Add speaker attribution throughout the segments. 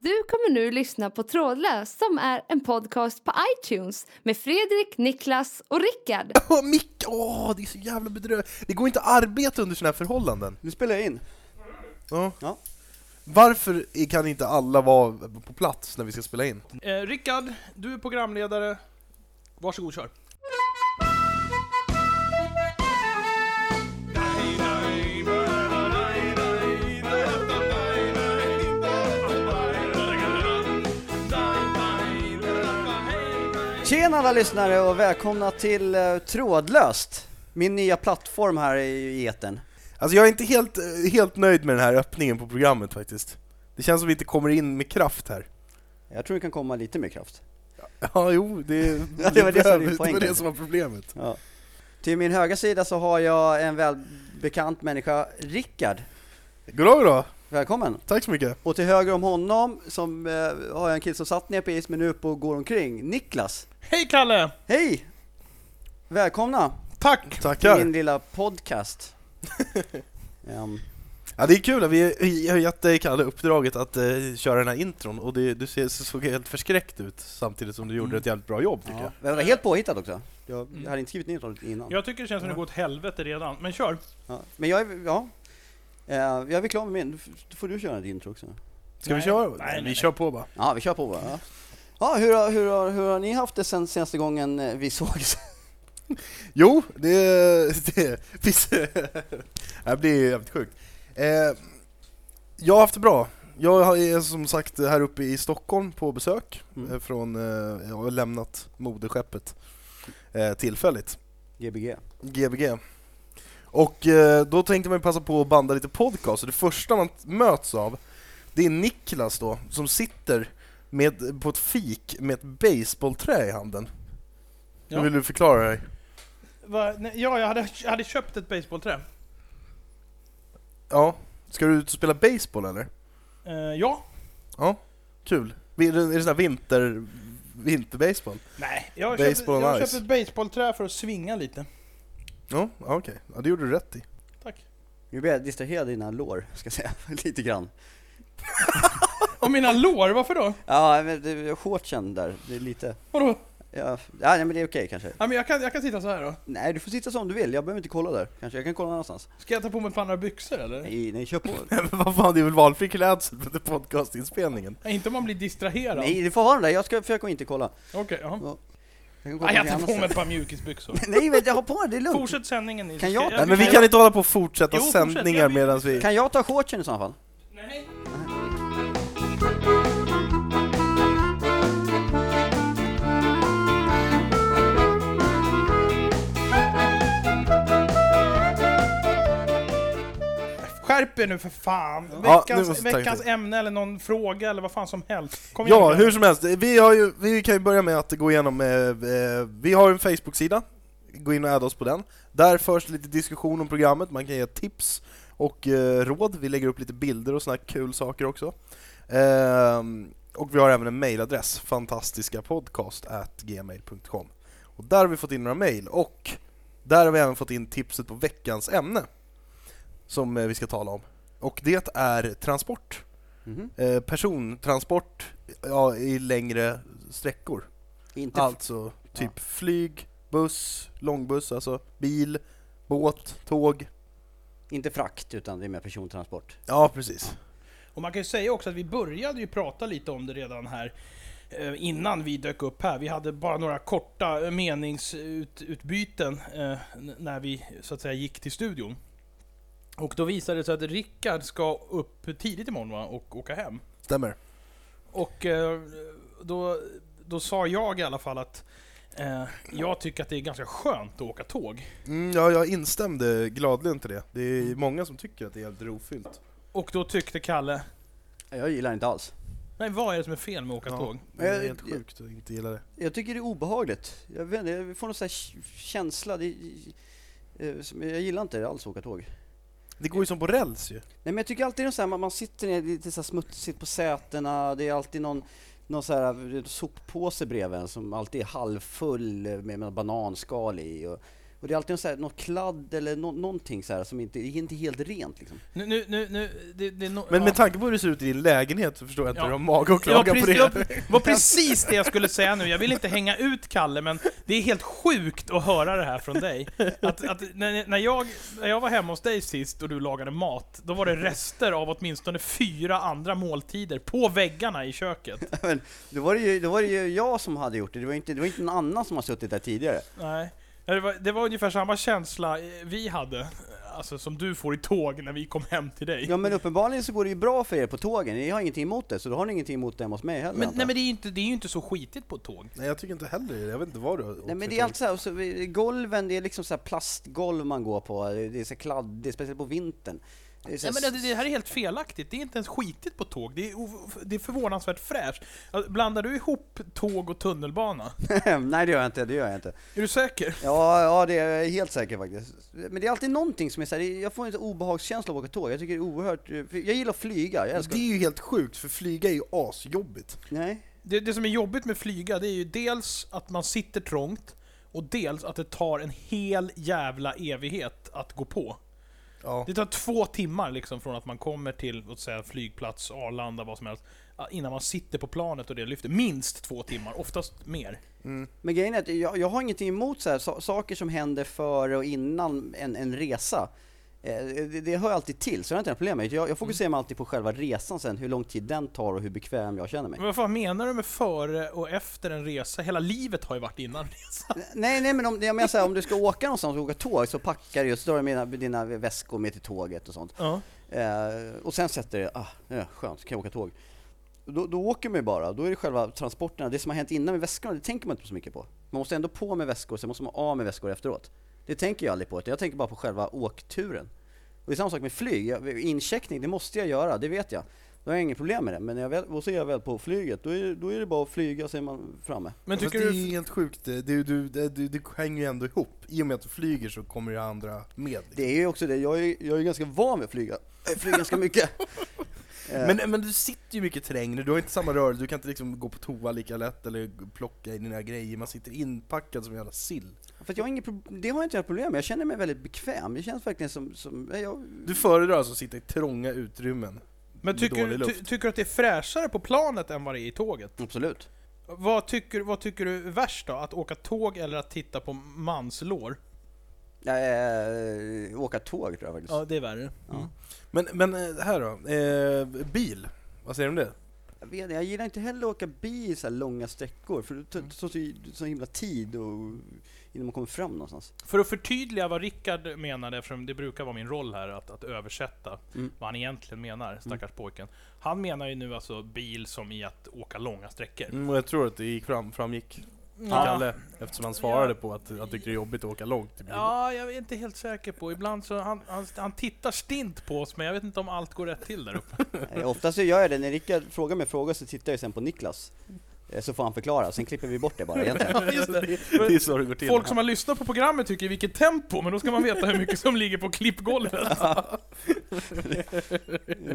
Speaker 1: Du kommer nu lyssna på Trådlös som är en podcast på iTunes med Fredrik, Niklas och Rickard.
Speaker 2: Åh, Micke! Åh, det är så jävla bedrövligt! Det går inte att arbeta under sådana här förhållanden.
Speaker 3: Nu spelar jag in.
Speaker 2: Ja.
Speaker 3: Ja.
Speaker 2: Varför kan inte alla vara på plats när vi ska spela in?
Speaker 4: Eh, Rickard, du är programledare. Varsågod kör.
Speaker 3: Tjena alla lyssnare och välkomna till eh, Trådlöst. Min nya plattform här i etern.
Speaker 2: Alltså jag är inte helt, eh, helt nöjd med den här öppningen på programmet faktiskt. Det känns som vi inte kommer in med kraft här.
Speaker 3: Jag tror det kan komma lite mer kraft.
Speaker 2: Ja, jo, det,
Speaker 3: Ja, det var det som var din
Speaker 2: det
Speaker 3: poäng,
Speaker 2: var det
Speaker 3: kanske.
Speaker 2: som var problemet.
Speaker 3: Ja. Till min högra sida så har jag en välbekant människa, Rickard.
Speaker 2: Goddag, goddag!
Speaker 3: Välkommen!
Speaker 2: Tack så mycket!
Speaker 3: Och till höger om honom som eh, har jag en kille som satt ner på is men nu är uppe och går omkring, Niklas.
Speaker 4: Hej Kalle!
Speaker 3: Hej! Välkomna
Speaker 4: Tack!
Speaker 3: till
Speaker 2: Tackar!
Speaker 3: min lilla podcast. Ehm,
Speaker 2: Ja, det är kul att vi, vi har gett dig, Kalle, uppdraget att eh, köra den här intron och det, du ser, såg helt förskräckt ut samtidigt som du gjorde ett jävligt bra jobb tycker
Speaker 3: ja.
Speaker 2: jag.
Speaker 3: Men det var helt påhittat också. Jag,
Speaker 4: Mm.
Speaker 3: jag hade inte skrivit ner något innan.
Speaker 4: Jag tycker det känns som det går åt helvete redan, men kör.
Speaker 3: Ja. Men jag är, ja. Eh, Jag är väl klar med min. Då f- Då får du köra din intro också.
Speaker 2: Ska
Speaker 4: Nej.
Speaker 2: vi köra?
Speaker 4: Nej, nej,
Speaker 2: vi
Speaker 4: nej.
Speaker 2: kör på bara.
Speaker 3: Ja, vi kör på bara. Ja. Ja, hur, har, hur, har, hur har ni haft det sen senaste gången eh, vi sågs?
Speaker 2: Jo, det... Det, visst, det här blir jävligt sjukt. Eh, jag har haft det bra. Jag är som sagt här uppe i Stockholm på besök.
Speaker 3: Mm.
Speaker 2: eh, Från, eh, jag har lämnat moderskeppet eh, tillfälligt,
Speaker 3: Gbg.
Speaker 2: Gbg. Och eh, då tänkte man ju passa på att banda lite podcast, och det första man möts av det är Niklas då, som sitter med, på ett fik med ett baseballträ i handen.
Speaker 4: Ja.
Speaker 2: Hur vill du förklara det här?
Speaker 4: Va, nej, ja, jag hade, jag hade köpt ett basebollträ.
Speaker 2: Ja, ska du ut och spela baseball eller?
Speaker 4: Eh, ja.
Speaker 2: Kul. Är det, är det sån här vinter... Vinterbaseball?
Speaker 4: Nej, jag har köpt,
Speaker 2: Baseball
Speaker 4: jag har
Speaker 2: on
Speaker 4: köpt
Speaker 2: ice.
Speaker 4: ett basebollträ för att svinga lite.
Speaker 2: Ja, ja, okej. Ja, det gjorde du rätt i.
Speaker 4: Tack.
Speaker 3: Nu blir jag distraherad av dina lår, ska jag säga. Lite grann.
Speaker 4: Och mina lår, varför då?
Speaker 3: Ja, men det- shortsen där, det är lite...
Speaker 4: Vadå?
Speaker 3: Ja, ja nej, men det är okej kanske.
Speaker 4: Ja, men jag, kan, jag kan sitta så här då.
Speaker 3: Nej, du får sitta som du vill. Jag behöver inte kolla där. Kanske jag kan kolla någonstans.
Speaker 4: Ska jag ta på mig ett par andra byxor eller? Nej.
Speaker 3: Nej, nej, kör på.
Speaker 2: Men vad fan, det är väl valfri klädsel för podcastinspelningen?
Speaker 4: inte om man blir distraherad.
Speaker 3: Nej, du får ha den där. Jag ska försöka inte kolla.
Speaker 4: Okej, ja.
Speaker 3: Jag kan kolla
Speaker 4: Nej, jag tar
Speaker 3: någonting
Speaker 4: på mig
Speaker 3: annat
Speaker 4: ett par mjukisbyxor.
Speaker 3: sen. Nej, men jag har på det. Det är lugnt.
Speaker 4: Fortsätt sändningen ni.
Speaker 3: Kan jag-
Speaker 4: Ska
Speaker 2: Nej, men vi kan inte hålla på och fortsätta
Speaker 4: Jo, fortsätt.
Speaker 2: sändningar
Speaker 4: Jag vill-
Speaker 2: medan vi...
Speaker 3: Kan jag ta shortsen i så fall?
Speaker 4: Nej. Skärp er nu för fan!
Speaker 2: Ja, nu
Speaker 4: Veckans,
Speaker 2: måste jag ta
Speaker 4: veckans
Speaker 2: det.
Speaker 4: ämne eller någon fråga eller vad fan som helst. Kom igen
Speaker 2: Ja,
Speaker 4: nu.
Speaker 2: hur som helst. Vi, har ju, vi kan ju börja med att gå igenom... Eh, eh, vi har en Facebook-sida. Gå in och adda oss på den. Där förs lite diskussion om programmet. Man kan ge tips och eh, råd. Vi lägger upp lite bilder och såna här kul saker också. Ehm, och vi har även en mailadress, fantastiskapodcast.gmail.com. Och där har vi fått in några mejl och där har vi även fått in tipset på veckans ämne som eh, vi ska tala om. Och det är transport.
Speaker 3: Mhm.
Speaker 2: Eh, persontransport ja, i längre sträckor.
Speaker 3: Inte
Speaker 2: Alltså typ flyg, buss, långbuss, alltså bil, båt, tåg.
Speaker 3: Inte frakt, utan det är mer persontransport.
Speaker 2: Ja, precis.
Speaker 4: Och man kan ju säga också att vi började ju prata lite om det redan här eh, innan vi dök upp här. Vi hade bara några korta eh, meningsutbyten eh, n- när vi så att säga gick till studion. Och då visade det sig att Rickard ska upp tidigt imorgon va? och åka hem.
Speaker 2: Stämmer.
Speaker 4: Och eh, då, då sa jag i alla fall att eh, jag tycker att det är ganska skönt att åka tåg.
Speaker 2: Mm, ja, jag instämde gladeligen till det. Det är många som tycker att det är helt rofyllt.
Speaker 4: Och då tyckte Kalle,
Speaker 3: Jag gillar inte alls.
Speaker 4: nej vad är det som är fel med att åka
Speaker 2: Ja.
Speaker 4: tåg?
Speaker 2: Det är
Speaker 3: Eh,
Speaker 2: helt sjukt att inte gilla det.
Speaker 3: Jag tycker det är obehagligt. Jag, vet inte, jag får någon sån här k- känsla. Det, eh, som- jag gillar inte alls att åka tåg.
Speaker 2: Det går ju som på räls ju.
Speaker 3: Nej men jag tycker alltid det är så här, man, man sitter ner lite så här smutsigt på sätena, det är alltid någon, någon så här eh, soppåse bredvid en som alltid är halvfull med, med bananskal i. Och, Och det är alltid något, så här, något kladd eller nå- någonting så här som inte, det är inte helt rent liksom.
Speaker 4: Nu, nu, nu, nu, det, det är no-
Speaker 2: Men
Speaker 4: ja.
Speaker 2: med tanke på hur det ser ut i din lägenhet så förstår jag inte
Speaker 4: Ja.
Speaker 2: hur du har mage att
Speaker 4: Ja,
Speaker 2: klaga
Speaker 4: precis,
Speaker 2: på
Speaker 4: det var,
Speaker 2: det.
Speaker 4: var precis det jag skulle säga nu. Jag vill inte hänga ut Kalle, men det är helt sjukt att höra det här från dig. Att, att när, när, jag, när jag var hemma hos dig sist och du lagade mat, då var det rester av åtminstone fyra andra måltider på väggarna i köket.
Speaker 3: Men då var det ju, då var det ju jag som hade gjort det, det var inte, det var inte någon annan som har suttit där tidigare.
Speaker 4: Nej. Ja, Det var, det var ungefär samma känsla eh, vi hade, alltså som du får i tåg när vi kom hem till dig.
Speaker 3: Ja men uppenbarligen så går det ju bra för er på tågen, ni har ingenting emot det, så då har ni ingenting emot det hemma hos mig heller
Speaker 4: Men,
Speaker 3: antar
Speaker 4: nej,
Speaker 3: jag.
Speaker 4: men det är ju inte, det är ju inte så skitigt på ett tåg.
Speaker 2: Nej, jag tycker inte heller det. Jag vet inte vad du har
Speaker 3: Nej
Speaker 2: åkt
Speaker 3: men
Speaker 2: för
Speaker 3: det är alltid så här, och så, vi- golven, det är liksom så här plastgolv man går på, det är så här kladdigt, speciellt på vintern. Det är så
Speaker 4: Nej,
Speaker 3: här
Speaker 4: men det, det här är helt felaktigt. Det är inte ens skitigt på tåg. Det är, o- det är förvånansvärt fräscht. Alltså, Blandar du ihop tåg och tunnelbana?
Speaker 3: Nej det gör jag inte, det gör jag inte.
Speaker 4: Är du säker?
Speaker 3: Ja, ja det är jag helt säker faktiskt. Men det är alltid någonting som är såhär, jag får en sån obehagskänsla av att åka tåg. Jag tycker det är oerhört, eh, för jag gillar att flyga, jag
Speaker 2: tåg.
Speaker 3: älskar
Speaker 2: Det är ju helt sjukt, för flyga är ju asjobbigt.
Speaker 3: Nej.
Speaker 4: Det, det som är jobbigt med flyga, det är ju dels att man sitter trångt, och dels att det tar en hel jävla evighet att gå på.
Speaker 2: Ja.
Speaker 4: Det tar två timmar liksom från att man kommer till, låt säga flygplats, Arlanda, vad som helst, innan man sitter på planet och det lyfter. Minst två timmar, oftast mer.
Speaker 2: Mm.
Speaker 3: Men grejen är att jag, jag har ingenting emot så här, sa- saker som händer före och innan en, en resa. Eh, Det, det hör jag alltid till, så jag har inte några problem med det. Jag, jag fokuserar mig alltid på själva resan sen, hur lång tid den tar och hur bekväm jag känner mig.
Speaker 4: Men vad fan menar du med före och efter en resa? Hela livet har ju varit innan resan.
Speaker 3: Nej, nej men om, jag menar så här, om du ska åka någonstans och åka tåg så packar du, så drar du med dina väskor med till tåget och sånt.
Speaker 4: Ja.
Speaker 3: Eh, och sen sätter det, ah, ja, skönt, kan jag åka tåg. Då, då åker man ju bara, då är det själva transporterna, det som har hänt innan med väskorna, det tänker man inte så mycket på. Man måste ändå på med väskor, sen måste man av med väskor efteråt. Det tänker jag aldrig på, utan jag tänker bara på själva åkturen. Och det är samma sak med flyg, Jag- incheckning, det måste jag göra, det vet jag. Då har jag inget problem med det, men när jag väl, och så är jag väl på flyget, då är, då är det bara att flyga så är man framme.
Speaker 4: Men
Speaker 2: Fast
Speaker 4: tycker
Speaker 2: det är
Speaker 4: du...
Speaker 2: ju helt sjukt, det, det, du- det, det, det hänger ju ändå ihop. I och med att du flyger så kommer ju andra med.
Speaker 3: Det är ju också det, jag är, jag är ganska van vid att flyga. Jag flyger ganska mycket. Eh,
Speaker 2: Men, men du sitter ju mycket trängre, du har inte samma rörelse, du kan inte liksom gå på toa lika lätt eller plocka i dina grejer, man sitter inpackad som en jävla sill.
Speaker 3: För att jag har inget pro- det har jag inte några problem med, jag känner mig väldigt bekväm. Det känns verkligen som, som nej, jag,
Speaker 2: Du föredrar alltså att sitta i trånga utrymmen?
Speaker 4: Men
Speaker 2: med
Speaker 4: tycker,
Speaker 2: dålig
Speaker 4: du-
Speaker 2: luft.
Speaker 4: ty, tycker du att det är fräschare på planet än vad det är i tåget?
Speaker 3: Absolut.
Speaker 4: Vad tycker, vad tycker du är värst då? Att åka tåg eller att titta på manslår?
Speaker 3: Äh, åka tåg tror jag faktiskt.
Speaker 4: Ja, det är värre.
Speaker 3: Ja.
Speaker 2: Men, men eh, här då, eh, bil? Vad säger du om det?
Speaker 3: Jag, vet, inte, jag gillar inte heller att åka bil så här långa sträckor, för det
Speaker 4: Mm.
Speaker 3: tar så, så, så himla tid och, innan man kommer fram någonstans.
Speaker 4: För att förtydliga vad Rickard menade, eftersom det brukar vara min roll här att, att översätta
Speaker 3: Mm.
Speaker 4: vad han egentligen menar, stackars pojken. Han menar ju nu alltså bil som i att åka långa sträckor.
Speaker 2: Mm, och jag tror att det gick fram, framgick till
Speaker 4: Ja.
Speaker 2: Kalle, eftersom han svarade på att han tyckte det är jobbigt att åka långt i bil.
Speaker 4: Ja, jag är inte helt säker på. Ibland så han, han, han tittar stint på oss, men jag vet inte om allt går rätt till där uppe.
Speaker 3: Eh, Oftast så gör jag det, när Rickard frågar mig frågor så tittar jag sen på Niklas. Eh, Så får han förklara, sen klipper vi bort det bara egentligen.
Speaker 2: Det är så det går till.
Speaker 4: Folk som har lyssnat på programmet tycker i vilket tempo, men då ska man veta hur mycket som ligger på klippgolvet.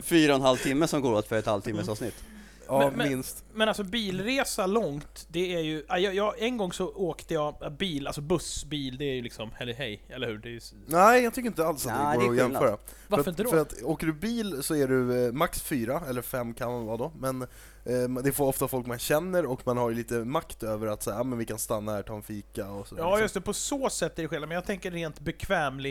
Speaker 3: Fyra och en halv timme som går åt för ett halvtimmes
Speaker 4: Mm.
Speaker 3: avsnitt.
Speaker 2: Ja,
Speaker 4: Men- men-
Speaker 2: minst.
Speaker 4: Men alltså bilresa långt, det är ju... ja, Jag, jag, en gång så åkte jag bil, alltså bussbil, det är ju liksom hej hej, eller hur? Det är ju, s-
Speaker 2: Nej, jag tycker inte alls att
Speaker 3: Nej,
Speaker 2: det går
Speaker 3: det är
Speaker 2: att
Speaker 3: skillnad.
Speaker 2: jämföra.
Speaker 4: varför
Speaker 2: för att,
Speaker 4: inte då?
Speaker 2: För att åker du bil så är du eh, max fyra, eller fem kan man vara då, men eh, det får ofta folk man känner och man har ju lite makt över att säga ah, men vi kan stanna här, ta en fika och liksom." sådär.
Speaker 4: ja, just det, på så sätt är det skillnad, men jag tänker rent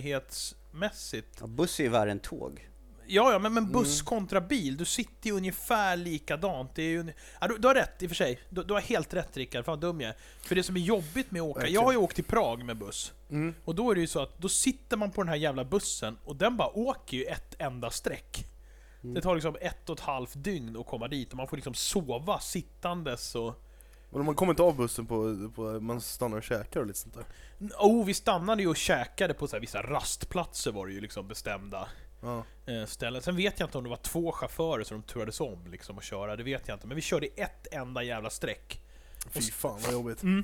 Speaker 4: bekvämlighetsmässigt.
Speaker 3: Ja, buss är ju värre än tåg.
Speaker 4: Ja, ja, men,
Speaker 2: Mm.
Speaker 4: men buss kontra bil, du sitter ju ungefär likadant. Det är ju, uni- ja, du, du har rätt i och för sig. Du, du har helt rätt Rickard, fan vad dum jag är. För det som är jobbigt med att åka, jag
Speaker 2: Verkligen.
Speaker 4: har ju åkt till Prag med buss.
Speaker 2: Mm.
Speaker 4: Och då är det ju så att då sitter man på den här jävla bussen och den bara åker ju ett enda streck. Det tar liksom ett och ett halvt dygn att komma dit och man får liksom sova sittandes och...
Speaker 2: Och man kommer inte av bussen på, på man stannar och käkar och lite sånt där.
Speaker 4: Oh, vi stannade ju och käkade på så här vissa rastplatser var det ju liksom bestämda.
Speaker 2: Ja.
Speaker 4: eh, ställen. Sen vet jag inte om det var två chaufförer som de turades om liksom att köra, det vet jag inte. Men vi körde i ett enda jävla streck.
Speaker 2: Fy fan vad jobbigt.
Speaker 4: Mm.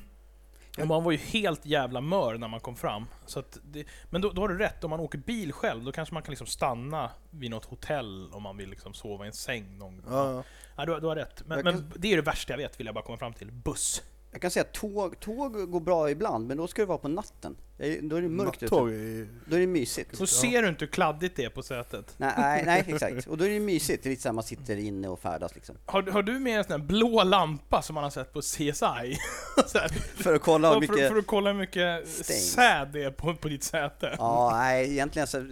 Speaker 4: Och man var ju helt jävla mör när man kom fram. Så att det, men då, då har du rätt, om man åker bil själv, då kanske man kan liksom stanna vid något hotell om man vill liksom sova i en säng någon gång.
Speaker 3: Mm.
Speaker 2: Ja.
Speaker 4: Ja, du, har- du har rätt. Men,
Speaker 3: Jag
Speaker 4: men det är det värsta jag vet, vill jag bara komma fram till. Buss.
Speaker 3: Jag Jag kan säga att tåg, tåg går bra ibland, men då ska det vara på natten. Eh, Då är det mörkt ute.
Speaker 2: Nattåg är...
Speaker 3: Då är det mysigt.
Speaker 4: Så ser du inte hur kladdigt det är på sätet.
Speaker 3: Nej, nej, nej, exakt. Och då är det mysigt. Det är lite så här, man sitter inne och färdas liksom.
Speaker 4: Har, har du med en sån här blå lampa som man har sett på CSI? så här,
Speaker 3: För att kolla hur
Speaker 4: för,
Speaker 3: mycket...
Speaker 4: för att kolla hur mycket
Speaker 3: stängs.
Speaker 4: säd det är på, på ditt säte.
Speaker 3: Ja, nej, egentligen så... eh,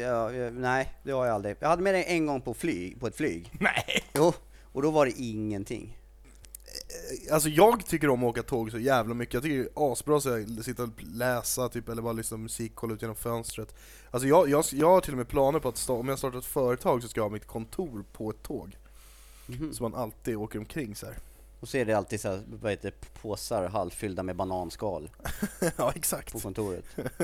Speaker 3: Ja, eh, nej, det har jag aldrig. Jag hade med det en gång på, flyg, på ett flyg.
Speaker 4: Nej!
Speaker 3: Jo, och då var det ingenting.
Speaker 2: Alltså jag tycker om att åka tåg så jävla mycket, jag tycker det är asbra så jag sitta och läsa typ, eller bara lyssna på musik, kolla ut genom fönstret Alltså jag, jag, jag har till och med planer på att sta- om jag startar ett företag så ska jag ha mitt kontor på ett tåg
Speaker 3: Mm.
Speaker 2: Så man alltid åker omkring så här.
Speaker 3: Mhm. Och så är det alltid så här, vad heter det, påsar halvfyllda med bananskal
Speaker 2: ja exakt,
Speaker 3: på kontoret.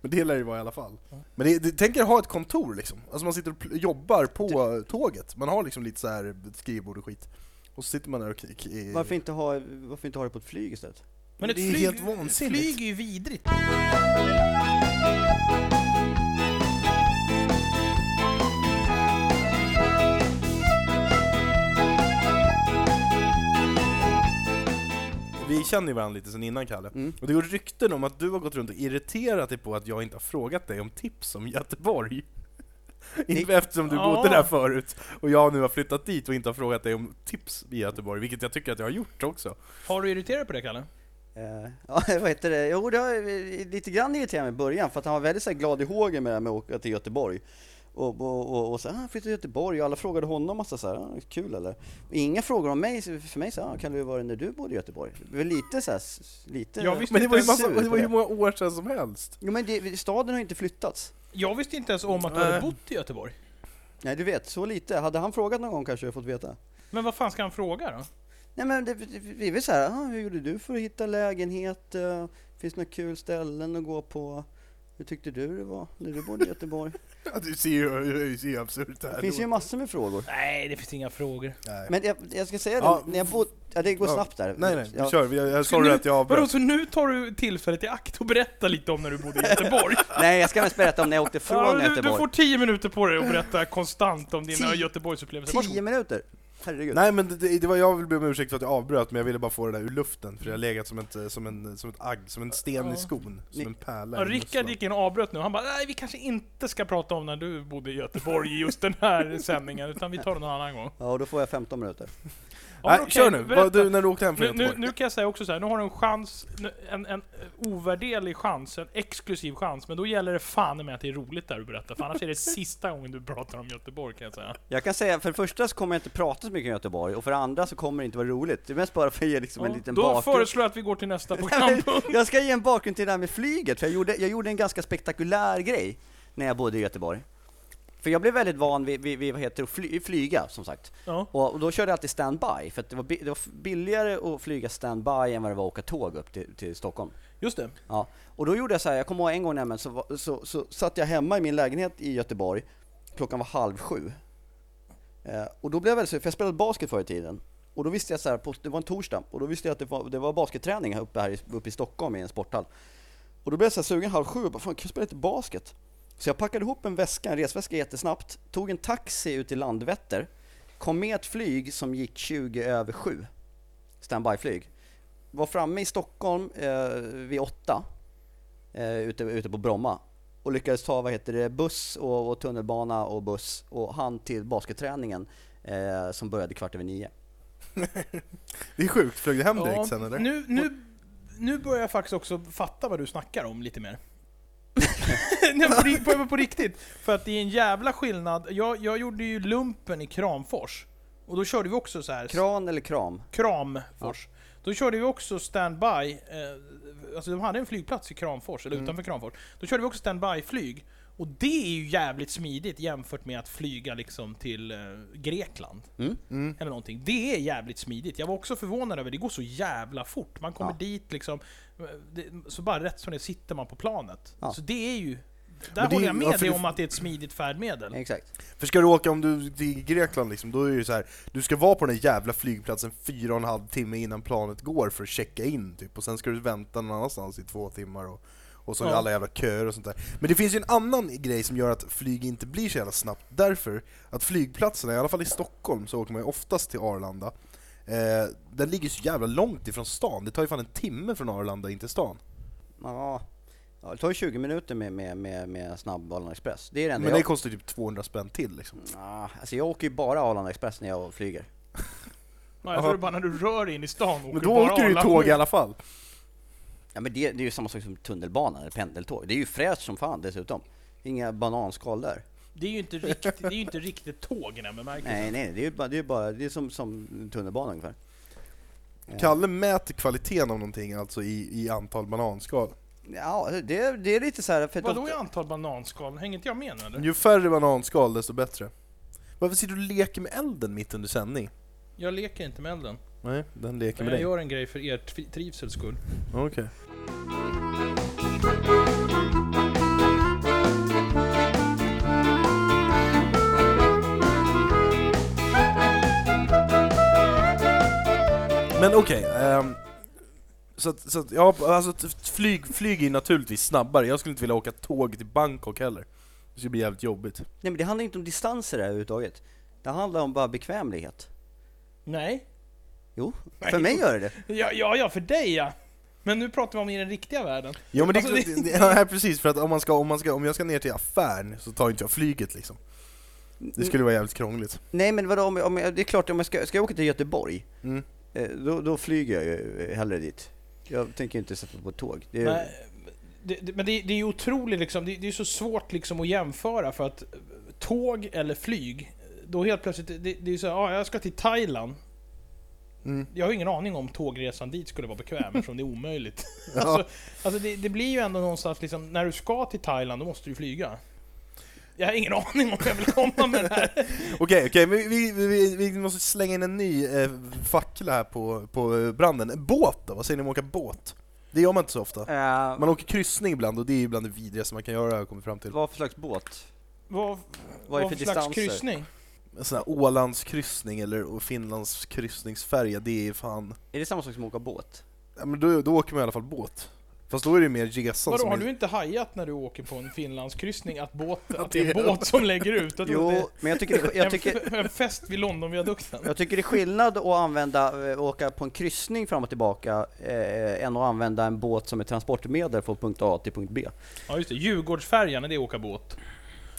Speaker 2: men det lär det ju vara i alla fall Men det, det, tänk er ha ett kontor liksom, alltså man sitter och pl- jobbar på
Speaker 3: typ.
Speaker 2: tåget, man har liksom lite så här skrivbord och skit Och så sitter man där och kik i...
Speaker 3: Varför inte ha, varför inte ha det på ett flyg istället?
Speaker 4: Men ett
Speaker 2: Det är ju
Speaker 4: flyg,
Speaker 2: helt vansinnigt.
Speaker 4: flyg är ju vidrigt.
Speaker 2: Vi känner ju varandra lite sen innan Kalle,
Speaker 3: Mm.
Speaker 2: och det går rykten om att du har gått runt och irriterat dig på att jag inte har frågat dig om tips om Göteborg. Inte Eftersom du
Speaker 4: Ja.
Speaker 2: bodde där förut, och jag nu har flyttat dit och inte har frågat dig om tips i Göteborg, vilket jag tycker att jag har gjort också.
Speaker 4: Har du irriterat dig på det Kalle?
Speaker 3: Eh, Ja, vad heter det? Jo, det har eh, lite grann irriterat mig i början för att han var väldigt så här, glad i hågen med det här med att åka till Göteborg. Och, och, och, och så här, ah, flyttade till Göteborg och alla frågade honom massa så här, ah, kul eller? Och inga frågor om mig, så för mig så här, ah, kan du vara när du bodde i Göteborg? Det var Lite så här, s- lite...
Speaker 4: Jag visste
Speaker 2: Men det var ju,
Speaker 4: inte
Speaker 2: massa,
Speaker 3: sur
Speaker 2: det
Speaker 3: på
Speaker 2: var ju hur
Speaker 3: det.
Speaker 2: många år sedan som helst.
Speaker 3: Jo men det, staden har ju inte flyttats.
Speaker 4: Jag visste inte ens om att du hade bott i Göteborg.
Speaker 3: Nej du vet, så lite. Hade han frågat någon gång kanske jag fått veta.
Speaker 4: Men vad fan ska han fråga då?
Speaker 3: Nej men det, det- det är väl så här, ah, hur gjorde du för att hitta lägenhet? Eh, Finns det några kul ställen att gå på? Hur tyckte du det var när du bodde i Göteborg?
Speaker 2: Ja, Du ser ju du ser ju absurt det här
Speaker 3: Det finns ju
Speaker 2: låter.
Speaker 3: massor med frågor.
Speaker 4: Nej, det finns inga frågor.
Speaker 2: Nej.
Speaker 3: Men jag, jag ska säga det,
Speaker 2: Ja.
Speaker 3: när jag bod, ja, det går
Speaker 2: Ja.
Speaker 3: snabbt där.
Speaker 2: Nej nej,
Speaker 3: Ja.
Speaker 2: vi kör. Jag, jag sorry
Speaker 4: nu,
Speaker 2: att jag
Speaker 4: Vadå,
Speaker 2: avbröt.
Speaker 4: så nu tar du tillfället i akt och berättar lite om när du bodde i Göteborg?
Speaker 3: Nej, jag ska mest berätta om när jag åkte från
Speaker 4: Ja, du,
Speaker 3: Göteborg.
Speaker 4: du får tio minuter på dig att berätta konstant om dina
Speaker 3: Tio-
Speaker 4: Göteborgsupplevelser.
Speaker 3: Tio
Speaker 4: Varsågod.
Speaker 3: minuter! Herregud.
Speaker 2: Nej men det- det, det var, jag vill be om ursäkt för att jag avbröt, men jag ville bara få det där ur luften, för jag har legat som, ett, eh, som, en, som ett agg, som en sten i skon, som
Speaker 3: Ni-
Speaker 2: en pärla
Speaker 4: Ja,
Speaker 2: i
Speaker 4: Rickard
Speaker 2: musslan.
Speaker 4: gick in och avbröt nu. Han bara, nej vi kanske inte ska prata om när du bodde i Göteborg i just den här sändningen, utan vi tar det någon annan gång.
Speaker 3: Ja, och då får jag 15 minuter.
Speaker 4: Ja,
Speaker 2: Nej,
Speaker 4: men okej,
Speaker 2: kör nu!
Speaker 4: berätta.
Speaker 2: Vad du, när du åkte hem från
Speaker 4: Nu, nu,
Speaker 2: Göteborg?
Speaker 4: nu kan jag säga också så här, nu har du en chans, nu- en, en ovärderlig chans, en exklusiv chans, men då gäller det fan med att det är roligt där du berättar, för annars är det sista gången du pratar om Göteborg kan jag säga.
Speaker 3: Jag kan säga, för det första så kommer jag inte prata så mycket om Göteborg, och för det andra så kommer det inte vara roligt. Det är mest bara för att ge liksom en liten
Speaker 4: då
Speaker 3: bakgrund.
Speaker 4: föreslår jag att vi går till nästa
Speaker 3: Nej,
Speaker 4: programpunkt.
Speaker 3: jag ska ge en bakgrund till det här med flyget, för jag gjorde, jag gjorde en ganska spektakulär grej när jag bodde i Göteborg. För jag blev väldigt van vid, vid, vid vad heter det, fly, flyga, som sagt.
Speaker 4: Ja.
Speaker 3: Och, och då körde jag alltid standby, för att det, var, bi- det var billigare att flyga standby än vad det var att åka tåg upp till, till Stockholm.
Speaker 4: Just det.
Speaker 3: Ja. Och då gjorde jag så här, jag kommer ihåg en gång nämligen, så, var- så, så satt jag hemma i min lägenhet i Göteborg, klockan var halv sju. Eh, och då blev jag väldigt sur, för jag spelade basket förr i tiden. Och då visste jag så här, på, det var en torsdag, och då visste jag att det var, det var basketträning här uppe, här i, uppe i Stockholm i en sporthall. Och då blev jag så här sugen halv sju, och bara, fan kan jag spela lite basket? Så jag packade ihop en väska, en resväska jättesnabbt, tog en taxi ut till Landvetter, kom med ett flyg som gick 20 över sju, standbyflyg. Var framme i Stockholm eh, vid åtta, eh, ute, ute på Bromma och lyckades ta vad heter det, buss och, och tunnelbana och buss och han till basketträningen eh, som började kvart över nio.
Speaker 2: Det är sjukt, flög du hem direkt
Speaker 4: Ja,
Speaker 2: sen eller?
Speaker 4: Nu, nu, nu börjar jag faktiskt också fatta vad du snackar om lite mer. Nej, på, ri- på, på riktigt. För att det är en jävla skillnad. Jag, jag gjorde ju lumpen i Kramfors. Och då körde vi också så här.
Speaker 3: Kran eller kram?
Speaker 4: Kramfors. Då körde vi också standby, eh, alltså de hade en flygplats i Kramfors,
Speaker 2: Mm.
Speaker 4: eller utanför Kramfors. Då körde vi också standby-flyg. Och det är ju jävligt smidigt jämfört med att flyga liksom till eh, Grekland.
Speaker 2: Mm.
Speaker 4: Eller någonting. Det är jävligt smidigt. Jag var också förvånad över det, går så jävla fort. Man kommer
Speaker 3: Ja.
Speaker 4: dit liksom, eh, det, så bara rätt som det sitter man på planet.
Speaker 3: Ja.
Speaker 4: Så det är ju...
Speaker 2: det
Speaker 4: Där
Speaker 2: är
Speaker 4: håller
Speaker 2: ju-
Speaker 4: jag med
Speaker 2: ja, för
Speaker 4: dig
Speaker 2: det-
Speaker 4: om att det är ett smidigt färdmedel.
Speaker 3: Mm, Exakt.
Speaker 2: För ska du åka om du till Grekland liksom, då är det ju så här. du ska vara på den här jävla flygplatsen fyra och en halv timme innan planet går för att checka in typ, och sen ska du vänta någon annanstans i två timmar och, och så är
Speaker 4: Ja.
Speaker 2: alla jävla köer och sånt där. Men det finns ju en annan grej som gör att flyg inte blir så jävla snabbt, därför att flygplatserna, i alla fall i Stockholm, så åker man ju oftast till Arlanda, Eh, den ligger så jävla långt ifrån stan, det tar ju fan en timme från Arlanda in till stan.
Speaker 3: Ja, ja det tar ju 20 minuter med, med, med, med snabbbanan Express. Det är det enda
Speaker 2: Men det
Speaker 3: jag...
Speaker 2: kostar typ 200 spänn till liksom.
Speaker 3: Ah, alltså jag åker ju bara Arlanda Express när jag flyger.
Speaker 4: Ja, jag
Speaker 2: Aha.
Speaker 4: tror bara när du rör in i stan
Speaker 2: Men
Speaker 4: åker bara
Speaker 2: då åker du ju
Speaker 4: Arlanda.
Speaker 2: tåg i alla fall.
Speaker 3: Ja men det, det är ju samma sak som tunnelbanan eller pendeltåg. Det är ju fräscht som fan dessutom. Inga bananskal där.
Speaker 4: Det är ju inte riktigt, det är ju inte riktigt tåg i den här bemärkelsen.
Speaker 3: Nej, nej, det är ju bara, det är bara det är som, som tunnelbanan ungefär. Ja.
Speaker 2: Kalle mäter kvaliteten av någonting, alltså i, i antal bananskal.
Speaker 3: Ja, det, det är lite så här för att
Speaker 4: Vadå i
Speaker 3: ofta-
Speaker 4: antal bananskal? Hänger inte jag med nu eller?
Speaker 2: Ju färre bananskal, desto bättre. Varför sitter du och leker med elden mitt under sändning?
Speaker 4: Jag leker inte med elden.
Speaker 2: Nej, den leker
Speaker 4: Men
Speaker 2: med
Speaker 4: jag
Speaker 2: dig.
Speaker 4: gör en grej för er tri- trivsels skull.
Speaker 2: Okej. Men okej, ehm, så att, så att, ja, alltså t- flyg, flyg är ju naturligtvis snabbare, jag skulle inte vilja åka tåg till Bangkok heller. Det skulle bli jävligt jobbigt.
Speaker 3: Nej men det handlar inte om distanser här överhuvudtaget. Det handlar om bara bekvämlighet.
Speaker 4: Nej.
Speaker 3: Jo,
Speaker 4: Nej.
Speaker 3: för mig gör det det
Speaker 4: Ja, ja, ja, för dig ja. Men nu pratar vi om i den riktiga världen.
Speaker 2: Ja men det,
Speaker 4: Alltså, det-
Speaker 2: det, det, ja, precis, för att om, man ska, om, man ska, om jag ska ner till affären så tar inte jag flyget liksom. Det skulle vara jävligt krångligt.
Speaker 3: Nej men vadå, om, om, jag- det är klart om jag ska, ska jag åka till Göteborg,
Speaker 2: Mm.
Speaker 3: eh, då, då flyger jag ju eh, hellre dit. Jag tänker inte sätta mig på ett tåg. Det är,
Speaker 4: Men, det, det, men det, det är ju otroligt liksom, det, det är så svårt liksom att jämföra för att eh, tåg eller flyg, då helt plötsligt, det, det är så här, ja jag ska till Thailand.
Speaker 2: Mm.
Speaker 4: Jag har ingen aning om tågresan dit skulle vara bekväm eftersom det är omöjligt. Alltså, alltså det, det blir ju ändå någonstans liksom, när du ska till Thailand då måste du flyga. Jag har ingen aning om jag vill komma med det här.
Speaker 2: Okej, okej, men vi, vi, vi, vi måste slänga in en ny eh, fackla här på, på eh, branden. En båt då? Vad säger ni om att åka båt? Det gör man inte så ofta.
Speaker 3: Eh,
Speaker 2: Man åker kryssning ibland och det är ju bland det vidrigaste man kan göra har jag kommit fram till.
Speaker 3: vad för slags båt?
Speaker 4: Vad,
Speaker 3: Vad är det för
Speaker 4: slags
Speaker 3: distanser?
Speaker 4: kryssning?
Speaker 2: En sån här Ålandskryssning eller Finlands kryssningsfärja, det är fan...
Speaker 3: Är det samma sak som att åka båt?
Speaker 2: Ja, men då, då åker man i alla fall båt. Fast då är det ju mer resan
Speaker 4: Vadå,
Speaker 2: som
Speaker 4: har
Speaker 2: är...
Speaker 4: du inte hajat när du åker på en finlandskryssning att, båt, att
Speaker 2: det
Speaker 4: det är
Speaker 2: är-
Speaker 4: en båt som lägger ut? Att det,
Speaker 3: Jo, men jag tycker, det, jag, tycker,
Speaker 4: En, en fest vid Londonviadukten.
Speaker 3: jag tycker det är skillnad att använda, eh, åka på en kryssning fram och tillbaka, eh, än att använda en båt som ett transportmedel från punkt A till punkt B.
Speaker 4: Ja just det, Djurgårdsfärjan, är det åka båt?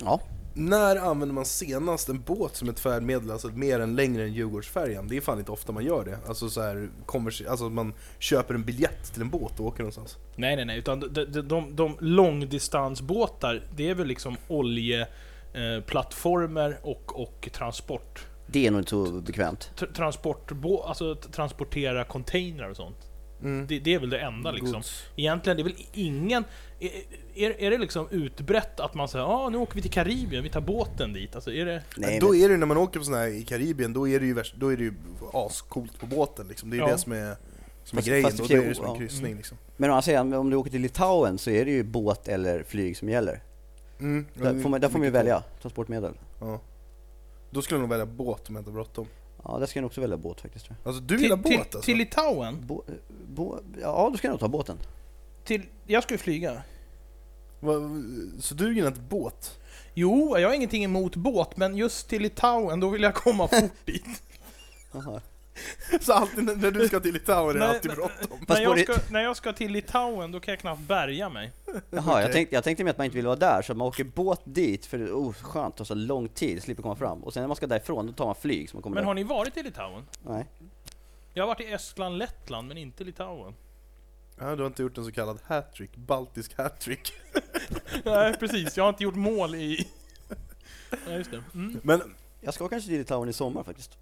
Speaker 3: Ja.
Speaker 2: När använder man senast en båt som ett färdmedel, alltså mer än längre än Djurgårdsfärjan? Det är fan inte ofta man gör det. Alltså så här, konvers- alltså att man köper en biljett till en båt och åker någonstans.
Speaker 4: Nej nej nej, utan de, de, de, de långdistansbåtar, det är väl liksom oljeplattformar eh, plattformar och, och transport.
Speaker 3: Det är nog inte så bekvämt.
Speaker 4: Tr- transportbå, alltså t- transportera containrar och sånt. Det, det är väl det enda liksom. Egentligen, det är väl ingen... Är, är, är det liksom utbrett att man säger ah, nu åker vi till Karibien, vi tar båten dit? Alltså är det...
Speaker 3: Nej,
Speaker 2: då
Speaker 3: men,
Speaker 2: är det när man åker på sån här i Karibien, då är det ju, värst, då är det ju ascoolt på båten liksom. Det är ju
Speaker 4: Ja.
Speaker 2: det som är, som är
Speaker 3: Fast-
Speaker 2: grejen,
Speaker 3: fast det
Speaker 2: och då är
Speaker 3: fjol-
Speaker 2: det som en
Speaker 3: ja. Mm.
Speaker 2: kryssning liksom.
Speaker 3: men å andra sidan, om du åker till Litauen så är det ju båt eller flyg som gäller.
Speaker 2: Mm.
Speaker 3: Där får man, där får man ju välja transportmedel.
Speaker 2: Ja. Då skulle jag nog välja båt om jag inte har bråttom.
Speaker 3: Ja, där ska jag nog också välja båt faktiskt. tror
Speaker 2: Alltså du
Speaker 4: Till,
Speaker 2: gillar båt
Speaker 4: till,
Speaker 2: alltså?
Speaker 4: till Litauen?
Speaker 3: jag. Bå, bå, ja, då ska jag nog ta båten.
Speaker 4: Till, jag ska ju flyga.
Speaker 2: Va- Så du gillar inte båt?
Speaker 4: Jo, jag har ingenting emot båt, men just till Litauen, då vill jag komma fort dit.
Speaker 3: Jaha.
Speaker 2: Så alltid när när du ska till Litauen är det
Speaker 4: Nej,
Speaker 2: alltid
Speaker 4: nej.
Speaker 2: bråttom?
Speaker 3: Fast
Speaker 4: när, jag
Speaker 3: både-
Speaker 4: ska, när jag ska till Litauen, då kan jag knappt bärga mig.
Speaker 3: Jaha, jag,
Speaker 2: Okej.
Speaker 3: tänkte, jag tänkte med att man inte vill vara där, så man åker båt dit för det oh, skönt, tar så lång tid, slipper komma fram. Och sen när man ska därifrån, då tar man flyg så man kommer
Speaker 4: Men
Speaker 3: där.
Speaker 4: har ni varit i Litauen?
Speaker 3: Nej.
Speaker 4: Jag har varit i Estland, Lettland, men inte Litauen.
Speaker 2: Ja, du har inte gjort en så kallad hattrick, baltisk hattrick.
Speaker 4: Nej, precis. Jag har inte gjort mål i... Nej, just det. Mm.
Speaker 2: Men,
Speaker 3: Jag ska kanske till Litauen i sommar faktiskt.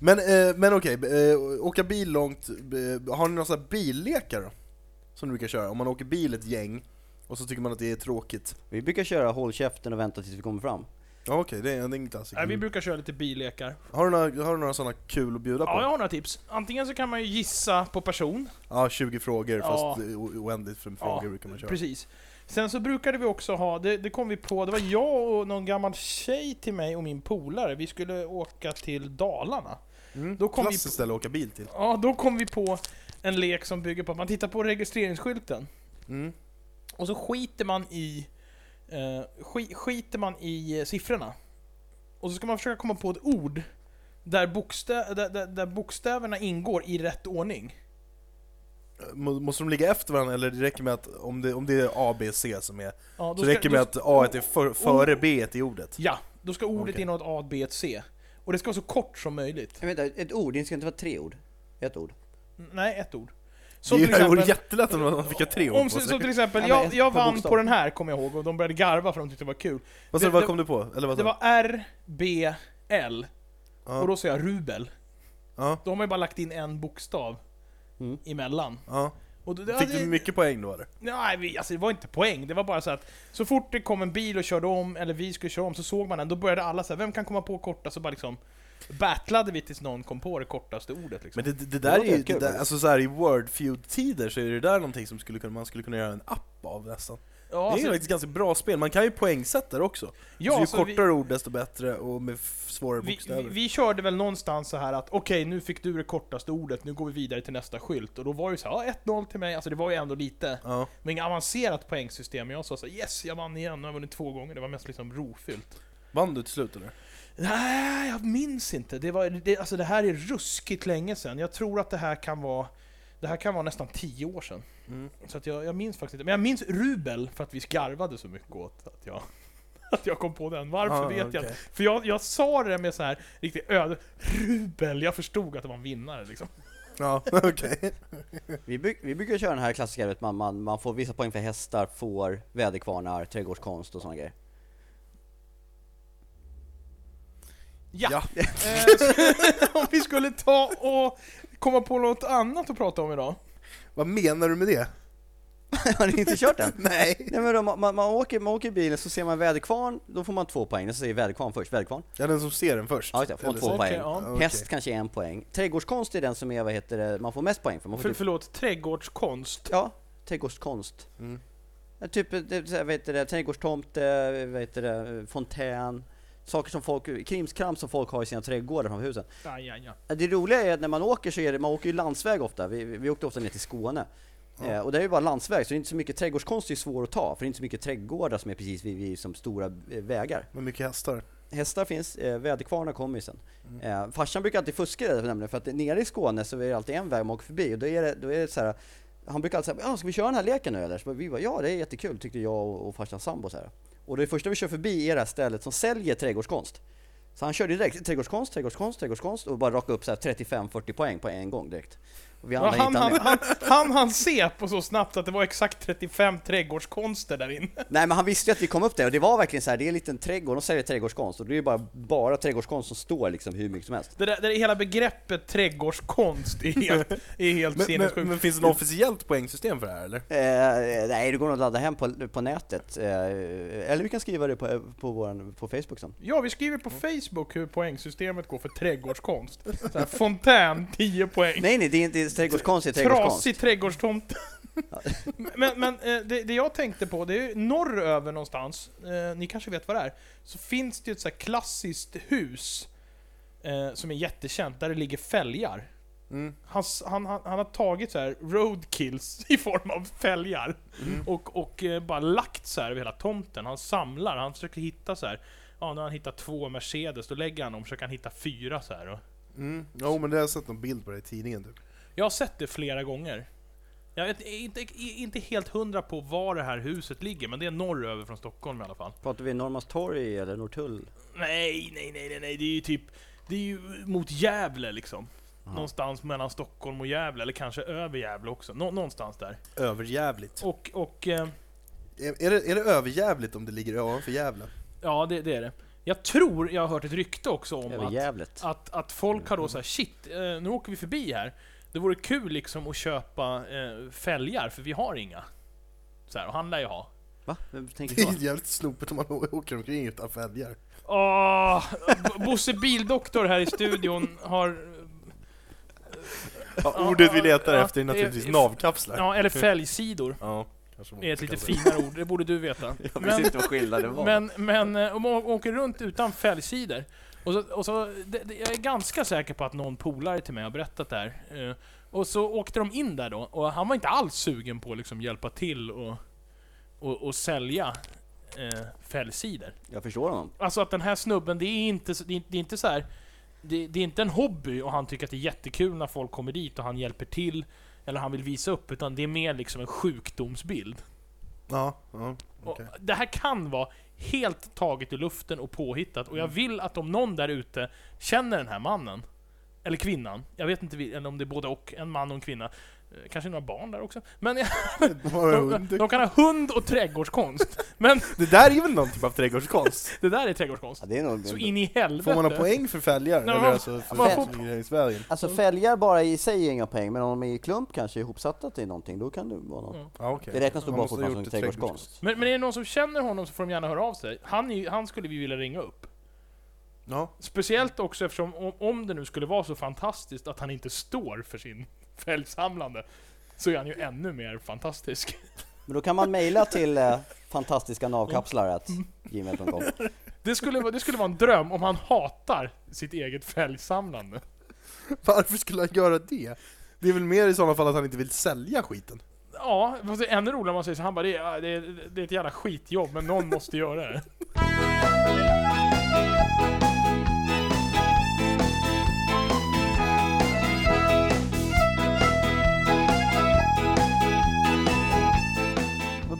Speaker 2: men, eh, men okej, eh, åka bil långt, eh, har ni några sådana här billekar då? Som du brukar köra? Om man åker bil ett gäng och så tycker man att det är tråkigt.
Speaker 3: Vi brukar köra håll käften och vänta tills vi kommer fram.
Speaker 2: Ja okej, det, är- det är en klassiker.
Speaker 4: Nej, vi brukar köra lite bilekar.
Speaker 2: Har du några, har du några sådana kul att bjuda på?
Speaker 4: Ja, jag har några tips. Antingen så kan man ju gissa på person.
Speaker 2: Ja, 20 frågor fast
Speaker 4: Ja.
Speaker 2: eh, o- oändligt för frågor brukar man köra.
Speaker 4: Precis. Sen så brukade vi också ha, det, det kom vi på, det var jag och någon gammal tjej till mig och min polare, vi skulle åka till Dalarna.
Speaker 2: Mm.
Speaker 4: Då kom vi
Speaker 2: Klassiskt ställe att åka bil till.
Speaker 4: Ja, då kom vi på en lek som bygger på att man tittar på registreringsskylten
Speaker 2: Mm.
Speaker 4: och så skiter man i eh, ski, skiter man i eh, siffrorna. Och så ska man försöka komma på ett ord där, bokstä- där, där, där bokstäverna ingår i rätt ordning.
Speaker 2: Må- Måste de ligga efter varandra eller det räcker med att om det, om det är A, B, C som är...
Speaker 4: Ja,
Speaker 2: Så räcker det med att A är för, före B i ordet?
Speaker 4: Ja, då ska ordet
Speaker 2: Okej.
Speaker 4: innehålla ett A, B, ett C. Och det ska vara så kort som möjligt.
Speaker 3: Jag vet inte, ett ord, det ska inte vara tre ord. Ett ord.
Speaker 4: Nej, ett ord.
Speaker 2: Det
Speaker 4: Som
Speaker 2: är-
Speaker 4: till
Speaker 2: det vore
Speaker 4: exempel,
Speaker 2: jättelätt om man fick ha tre ord
Speaker 4: om,
Speaker 2: på
Speaker 4: så,
Speaker 2: sig.
Speaker 4: så till exempel
Speaker 3: Nej,
Speaker 4: jag,
Speaker 3: men
Speaker 4: jag
Speaker 3: på
Speaker 4: vann
Speaker 3: bokstav.
Speaker 4: på den här, kommer jag ihåg, och de började garva för de tyckte det var kul.
Speaker 2: Vad sa du,
Speaker 4: det-
Speaker 2: vad kom du på? Eller vad
Speaker 4: Det
Speaker 2: sa du?
Speaker 4: var R, B, L.
Speaker 2: Ja.
Speaker 4: Och då sa jag rubel.
Speaker 2: Ja.
Speaker 4: Då har man ju bara lagt in en bokstav
Speaker 3: Mm.
Speaker 4: emellan.
Speaker 2: Ja.
Speaker 4: Och då,
Speaker 2: Fick du mycket poäng då eller?
Speaker 4: Nej, vi, alltså det var inte poäng. Det var bara så att så fort det kom en bil och körde om, eller vi skulle köra om, så såg man den. Då började alla så här, vem kan komma på kortast? Så bara liksom battlade vi tills någon kom på det kortaste ordet liksom.
Speaker 2: Men det, det, det
Speaker 3: Det
Speaker 2: där
Speaker 3: låter
Speaker 2: är ju,
Speaker 3: kul
Speaker 2: det där,
Speaker 3: faktiskt.
Speaker 2: alltså så här, i Wordfeud-tider så är det där någonting som skulle kunna, man skulle kunna göra en app av nästan. det
Speaker 4: ja,
Speaker 2: är ju
Speaker 4: alltså,
Speaker 2: faktiskt ganska bra spel, man kan ju poängsätta det också.
Speaker 4: ja,
Speaker 2: så ju
Speaker 4: så
Speaker 2: kortare ord desto bättre och med f- svårare
Speaker 4: vi, vi,
Speaker 2: bokstäver.
Speaker 4: vi, vi körde väl någonstans så här att okej, nu fick du det kortaste ordet, nu går vi vidare till nästa skylt. Och då var det ju så här, ja 1-0 till mig, alltså det var ju ändå lite.
Speaker 2: Ja.
Speaker 4: Men inget avancerat poängsystem, men jag sa så här, yes, jag vann igen, nu har jag vunnit två gånger. Det var mest liksom rofyllt.
Speaker 2: Vann du till slut eller?
Speaker 4: Nej, jag minns inte. Det, var, det, alltså det här är ruskigt länge sedan. Jag tror att det här kan vara, det här kan vara nästan tio år sedan.
Speaker 2: Mm.
Speaker 4: Så att jag, jag minns faktiskt inte. Men jag minns rubel för att vi garvade så mycket åt att jag, att jag kom på den. Varför
Speaker 2: Ah,
Speaker 4: vet jag
Speaker 2: okej.
Speaker 4: inte. För jag, jag sa det med så här riktigt öde. Rubel! Jag förstod att det var en vinnare liksom.
Speaker 2: Ja, okej.
Speaker 3: Vi, bru- vi brukar köra den här klassiska, vet man, man, man får vissa poäng för hästar, får, väderkvarnar, trädgårdskonst och sådana grejer.
Speaker 4: Ja! Eh, så- om vi skulle ta och komma på något annat att prata om idag.
Speaker 2: Vad menar du med det?
Speaker 3: Har ni inte kört den?
Speaker 2: Nej!
Speaker 3: Nej men då, man, man, man, åker, man åker i bilen, så ser man väderkvarn, då får man två poäng. Den säger väderkvarn först, väderkvarn.
Speaker 2: Ja, den som ser den först.
Speaker 3: Ja, just det, får man
Speaker 2: Eller
Speaker 3: två
Speaker 2: så.
Speaker 4: Okej,
Speaker 3: poäng.
Speaker 4: ja.
Speaker 2: Okej.
Speaker 3: Häst kanske är en poäng. Trädgårdskonst är den som är, vad heter det, man får mest poäng för. Man får
Speaker 4: För,
Speaker 3: typ,
Speaker 4: förlåt, trädgårdskonst.
Speaker 3: ja, trädgårdskonst.
Speaker 2: Mm.
Speaker 3: Ja, Typ, eh, det- så här, vad heter det, trädgårdstomte, vad heter det, fontän. Saker som folk, krimskrams som folk har i sina trädgårdar framför husen.
Speaker 4: Ja, ja, ja.
Speaker 3: Ja, Det roliga är att när man åker så är det, man åker ju landsväg ofta, vi, vi vi åkte ofta ner till Skåne. Eh, och det är ju bara landsväg, så det är inte så mycket trädgårdskonst är ju svår att ta, för det är inte så mycket trädgårdar som är precis vid, vid som stora eh, vägar.
Speaker 2: Med mycket hästar.
Speaker 3: Hästar finns, eh, väderkvarnar kommer ju sen. Eh, farsan brukar alltid fuska det där nämligen, för att nere i Skåne så är det alltid en väg man åker förbi och då är det, då är det så här. Han brukar alltid säga ah, ska vi köra den här leken nu eller? Så bara, vi bara, ja det är jättekul tyckte jag och, och farsans sambo så här. Och det första vi kör förbi är det här stället som säljer trädgårdskonst. Så han körde direkt trädgårdskonst, trädgårdskonst, trädgårdskonst och bara rakade upp så här 35-40 poäng på en gång direkt. Och vi
Speaker 4: Ja,
Speaker 3: andra
Speaker 4: han,
Speaker 3: hittade
Speaker 4: han,
Speaker 3: med.
Speaker 4: han, han, han se på så snabbt att det var exakt 35 trädgårdskonster där inne.
Speaker 3: Nej men han visste ju att vi kom upp där och det var verkligen så här, det är en liten trädgård, de säljer trädgårdskonst och det är ju bara, bara trädgårdskonst som står liksom hur mycket som helst.
Speaker 4: Det där, det där hela begreppet trädgårdskonst är helt, är helt
Speaker 2: Men, men,
Speaker 4: sinnessjukt.
Speaker 2: men finns det något officiellt poängsystem för det här eller?
Speaker 3: Eh, nej, det går nog att ladda hem på, på nätet. Eh, eller vi kan skriva det på, på, våran, på Facebook sen.
Speaker 4: Ja, vi skriver på Facebook hur poängsystemet går för trädgårdskonst. Så här, fontän, 10 poäng.
Speaker 3: Nej, nej, det är inte det är trädgårdskonst, det är trädgårdskonst.
Speaker 4: Trasig trädgårdstomte. Men, men eh, det, det jag tänkte på, det är ju norröver någonstans, eh, ni kanske vet vad det är, så finns det ju ett så här klassiskt hus eh, som är jättekänt, där det ligger fälgar.
Speaker 2: Mm.
Speaker 4: Han, s- han, han, han har tagit så här roadkills i form av fälgar
Speaker 2: Mm.
Speaker 4: och, och eh, bara lagt så här över hela tomten. Han samlar, han försöker hitta så här. Ja, nu har han hittat två Mercedes, då lägger han dem, försöker han hitta fyra så här. Och
Speaker 2: Mm. Jo men det har jag sett någon bild på det i tidningen typ.
Speaker 4: jag har sett det flera gånger. Jag vet inte, inte helt hundra på var det här huset ligger, men det är norröver från Stockholm i alla fall.
Speaker 3: Pratar vi Norrmalmstorg eller Norrtull?
Speaker 4: Nej, nej, nej, nej, nej, det är ju typ... Det är ju mot Gävle liksom. Någonstans mellan Stockholm och Gävle, eller kanske över Gävle också. Nå, någonstans där.
Speaker 2: Överjävligt.
Speaker 4: Och, och... Eh,
Speaker 2: Är, är, det, är det överjävligt om det ligger ovanför Gävle?
Speaker 4: Ja, det, det är det. Jag tror jag har hört ett rykte också om
Speaker 3: Över
Speaker 4: att,
Speaker 3: Gävlet?
Speaker 4: att, att folk har då såhär, shit, eh, nu åker vi förbi här. Det vore kul liksom att köpa eh, fälgar, för vi har inga. Så här, och han lär ju ha.
Speaker 3: Va? Vem tänker
Speaker 2: Det
Speaker 3: så?
Speaker 2: är jävligt snopet om man å- åker omkring utan fälgar.
Speaker 4: Åh, B- Bosse Bildoktor här i studion har...
Speaker 2: Ja, ordet vi letar
Speaker 4: ja,
Speaker 2: efter är
Speaker 4: det-
Speaker 2: naturligtvis navkapslar. Ja,
Speaker 4: Ja, eller fälgsidor.
Speaker 2: kanske man
Speaker 4: Är ett lite
Speaker 2: kan säga.
Speaker 4: finare ord, det borde du veta.
Speaker 3: Jag
Speaker 4: Men-
Speaker 3: inte vad skillnaden
Speaker 4: Men, men eh, om man åker runt utan fälgsidor. Och så, och så, det, det, jag är ganska säker på att någon polare till mig har berättat det här. Eh, Och så åkte de in där då, och han var inte alls sugen på att liksom hjälpa till och, och, och sälja eh, fälgsidor.
Speaker 3: Jag förstår honom.
Speaker 4: Alltså att den här snubben, det är inte, så- det är, det är inte så här det, det är inte en hobby och han tycker att det är jättekul när folk kommer dit och han hjälper till eller han vill visa upp, utan det är mer liksom en sjukdomsbild.
Speaker 2: Ja, ja.
Speaker 4: Och
Speaker 2: Okej.
Speaker 4: det här kan vara helt taget ur luften och påhittat och jag
Speaker 2: Mm.
Speaker 4: vill att om någon där ute känner den här mannen, eller kvinnan, jag vet inte vil- eller om det är både och, en man och en kvinna, Eh, kanske några barn där också, men
Speaker 2: Bara
Speaker 4: de,
Speaker 2: hund.
Speaker 4: de kan ha hund och trädgårdskonst, men
Speaker 2: Det där är väl någon typ av trädgårdskonst?
Speaker 4: det där är trädgårdskonst.
Speaker 3: Ja, det är nog...
Speaker 4: Så in i helvete!
Speaker 2: Får man ha poäng för fälgar?
Speaker 4: Nej,
Speaker 2: Eller
Speaker 4: man-
Speaker 2: alltså för
Speaker 4: man
Speaker 3: får-
Speaker 2: fälgrejesvägen?
Speaker 3: Alltså fälgar bara i sig är inga poäng, men om de är i klump kanske är ihopsatta till någonting, då kan det vara något.
Speaker 4: Mm.
Speaker 2: Ja, okej.
Speaker 3: Det räknas nog
Speaker 2: Man
Speaker 3: bara
Speaker 2: måste ha
Speaker 3: fortfarande
Speaker 2: gjort
Speaker 3: som
Speaker 2: ett
Speaker 3: trädgårdskonst.
Speaker 4: Men, men är det någon som känner honom så får de gärna höra av sig. Han, är, ju- han skulle vi vilja ringa upp.
Speaker 2: Ja.
Speaker 4: Speciellt också eftersom om, om det nu skulle vara så fantastiskt att han inte står för sin fälgsamlande, så är han ju ännu mer fantastisk.
Speaker 3: Men då kan man mejla till eh, fantastiska navkapslar gmail.com.
Speaker 4: Det skulle, vara- det skulle vara en dröm om han hatar sitt eget fälgsamlande.
Speaker 2: Varför skulle han göra det? Det är väl mer i sådana fall att han inte vill sälja skiten?
Speaker 4: Ja, fast det är ännu roligare om man säger så han bara det är, det, är, det är ett jävla skitjobb, men någon måste göra det.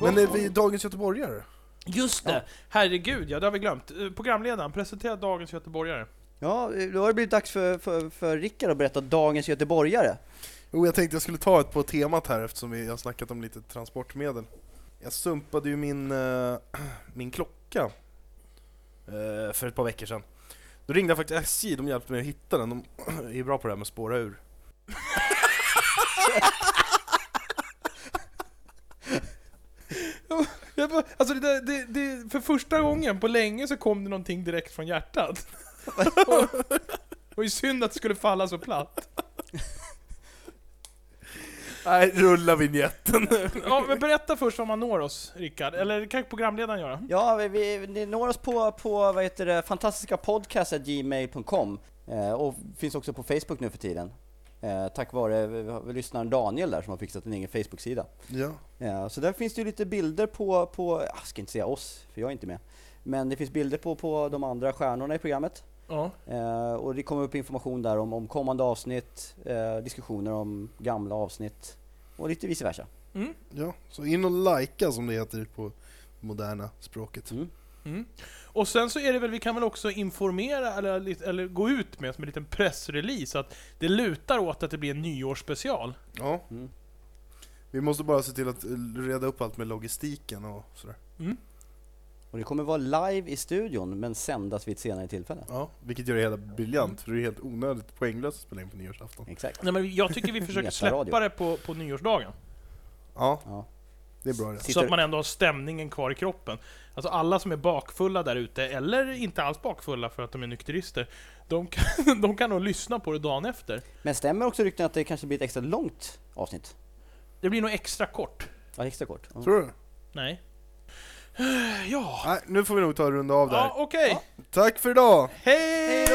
Speaker 2: Men är vi dagens göteborgare?
Speaker 5: Just det!
Speaker 4: Herregud, ja det har vi glömt. Eh, Programledaren, presentera dagens göteborgare.
Speaker 3: Ja, eh, då har det blivit dags för, för, för Rickard att berätta dagens göteborgare.
Speaker 2: Jo, jag tänkte jag skulle ta ett på temat här eftersom vi har snackat om lite transportmedel. Jag sumpade ju min, eh, min klocka eh, för ett par veckor sedan. Då ringde jag faktiskt SJ, de hjälpte mig att hitta den. De är bra på det här med att spåra ur.
Speaker 5: Jag bara- Alltså det, där- det, det, för första gången på länge så kom det någonting direkt från hjärtat. Och, och det är synd att det skulle falla så platt.
Speaker 2: Nej, rulla vignetten.
Speaker 4: Ja, men berätta först var man når oss, Rickard. Eller det kan programledaren göra.
Speaker 3: Ja, vi, vi, ni når oss på, på vad heter det, fantastiskapodcast.gmail.com eh, och finns också på Facebook nu för tiden. Eh, tack vare vi, vi, har- vi lyssnaren Daniel där som har fixat en egen Facebook-sida.
Speaker 2: Ja.
Speaker 3: Ja, så där finns det ju lite bilder på, på, jag ska inte säga oss, för jag är inte med. Men det finns bilder på, på de andra stjärnorna i programmet.
Speaker 4: Ja.
Speaker 3: Eh, och det kommer upp information där om, om kommande avsnitt, eh, diskussioner om gamla avsnitt och lite vice versa.
Speaker 2: ja, så in och likea som det heter på moderna språket.
Speaker 4: Mm. Och sen så är det väl, vi kan väl också informera, eller, lite- eller gå ut med som en liten pressrelease, att det lutar åt att det blir en nyårsspecial.
Speaker 2: Ja.
Speaker 3: Mm.
Speaker 2: Vi måste bara se till att eh, reda upp allt med logistiken och sådär.
Speaker 3: Och det kommer vara live i studion men sändas vid ett senare tillfälle.
Speaker 2: Ja, vilket gör det hela briljant, för det är helt onödigt poänglöst att spela in på nyårsafton.
Speaker 3: Exakt.
Speaker 4: Nej, men jag tycker vi försöker
Speaker 3: Jätteradio.
Speaker 4: släppa det på, på nyårsdagen.
Speaker 2: Ja,
Speaker 3: Ja.
Speaker 2: det är bra det.
Speaker 3: Sitter-
Speaker 4: Så att man ändå har stämningen kvar i kroppen. Alltså alla som är bakfulla där ute, eller inte alls bakfulla för att de är nykterister, de kan, de kan nog lyssna på det dagen efter.
Speaker 3: Men stämmer också rykten att det kanske blir ett extra långt avsnitt?
Speaker 4: Det blir nog extra kort.
Speaker 3: Ja, extra kort. Ja.
Speaker 2: Tror du?
Speaker 4: Nej. Ja.
Speaker 2: Nej, nu får vi nog ta en runda av där.
Speaker 4: Ja, okej.
Speaker 2: Tack för idag!
Speaker 4: Hej då!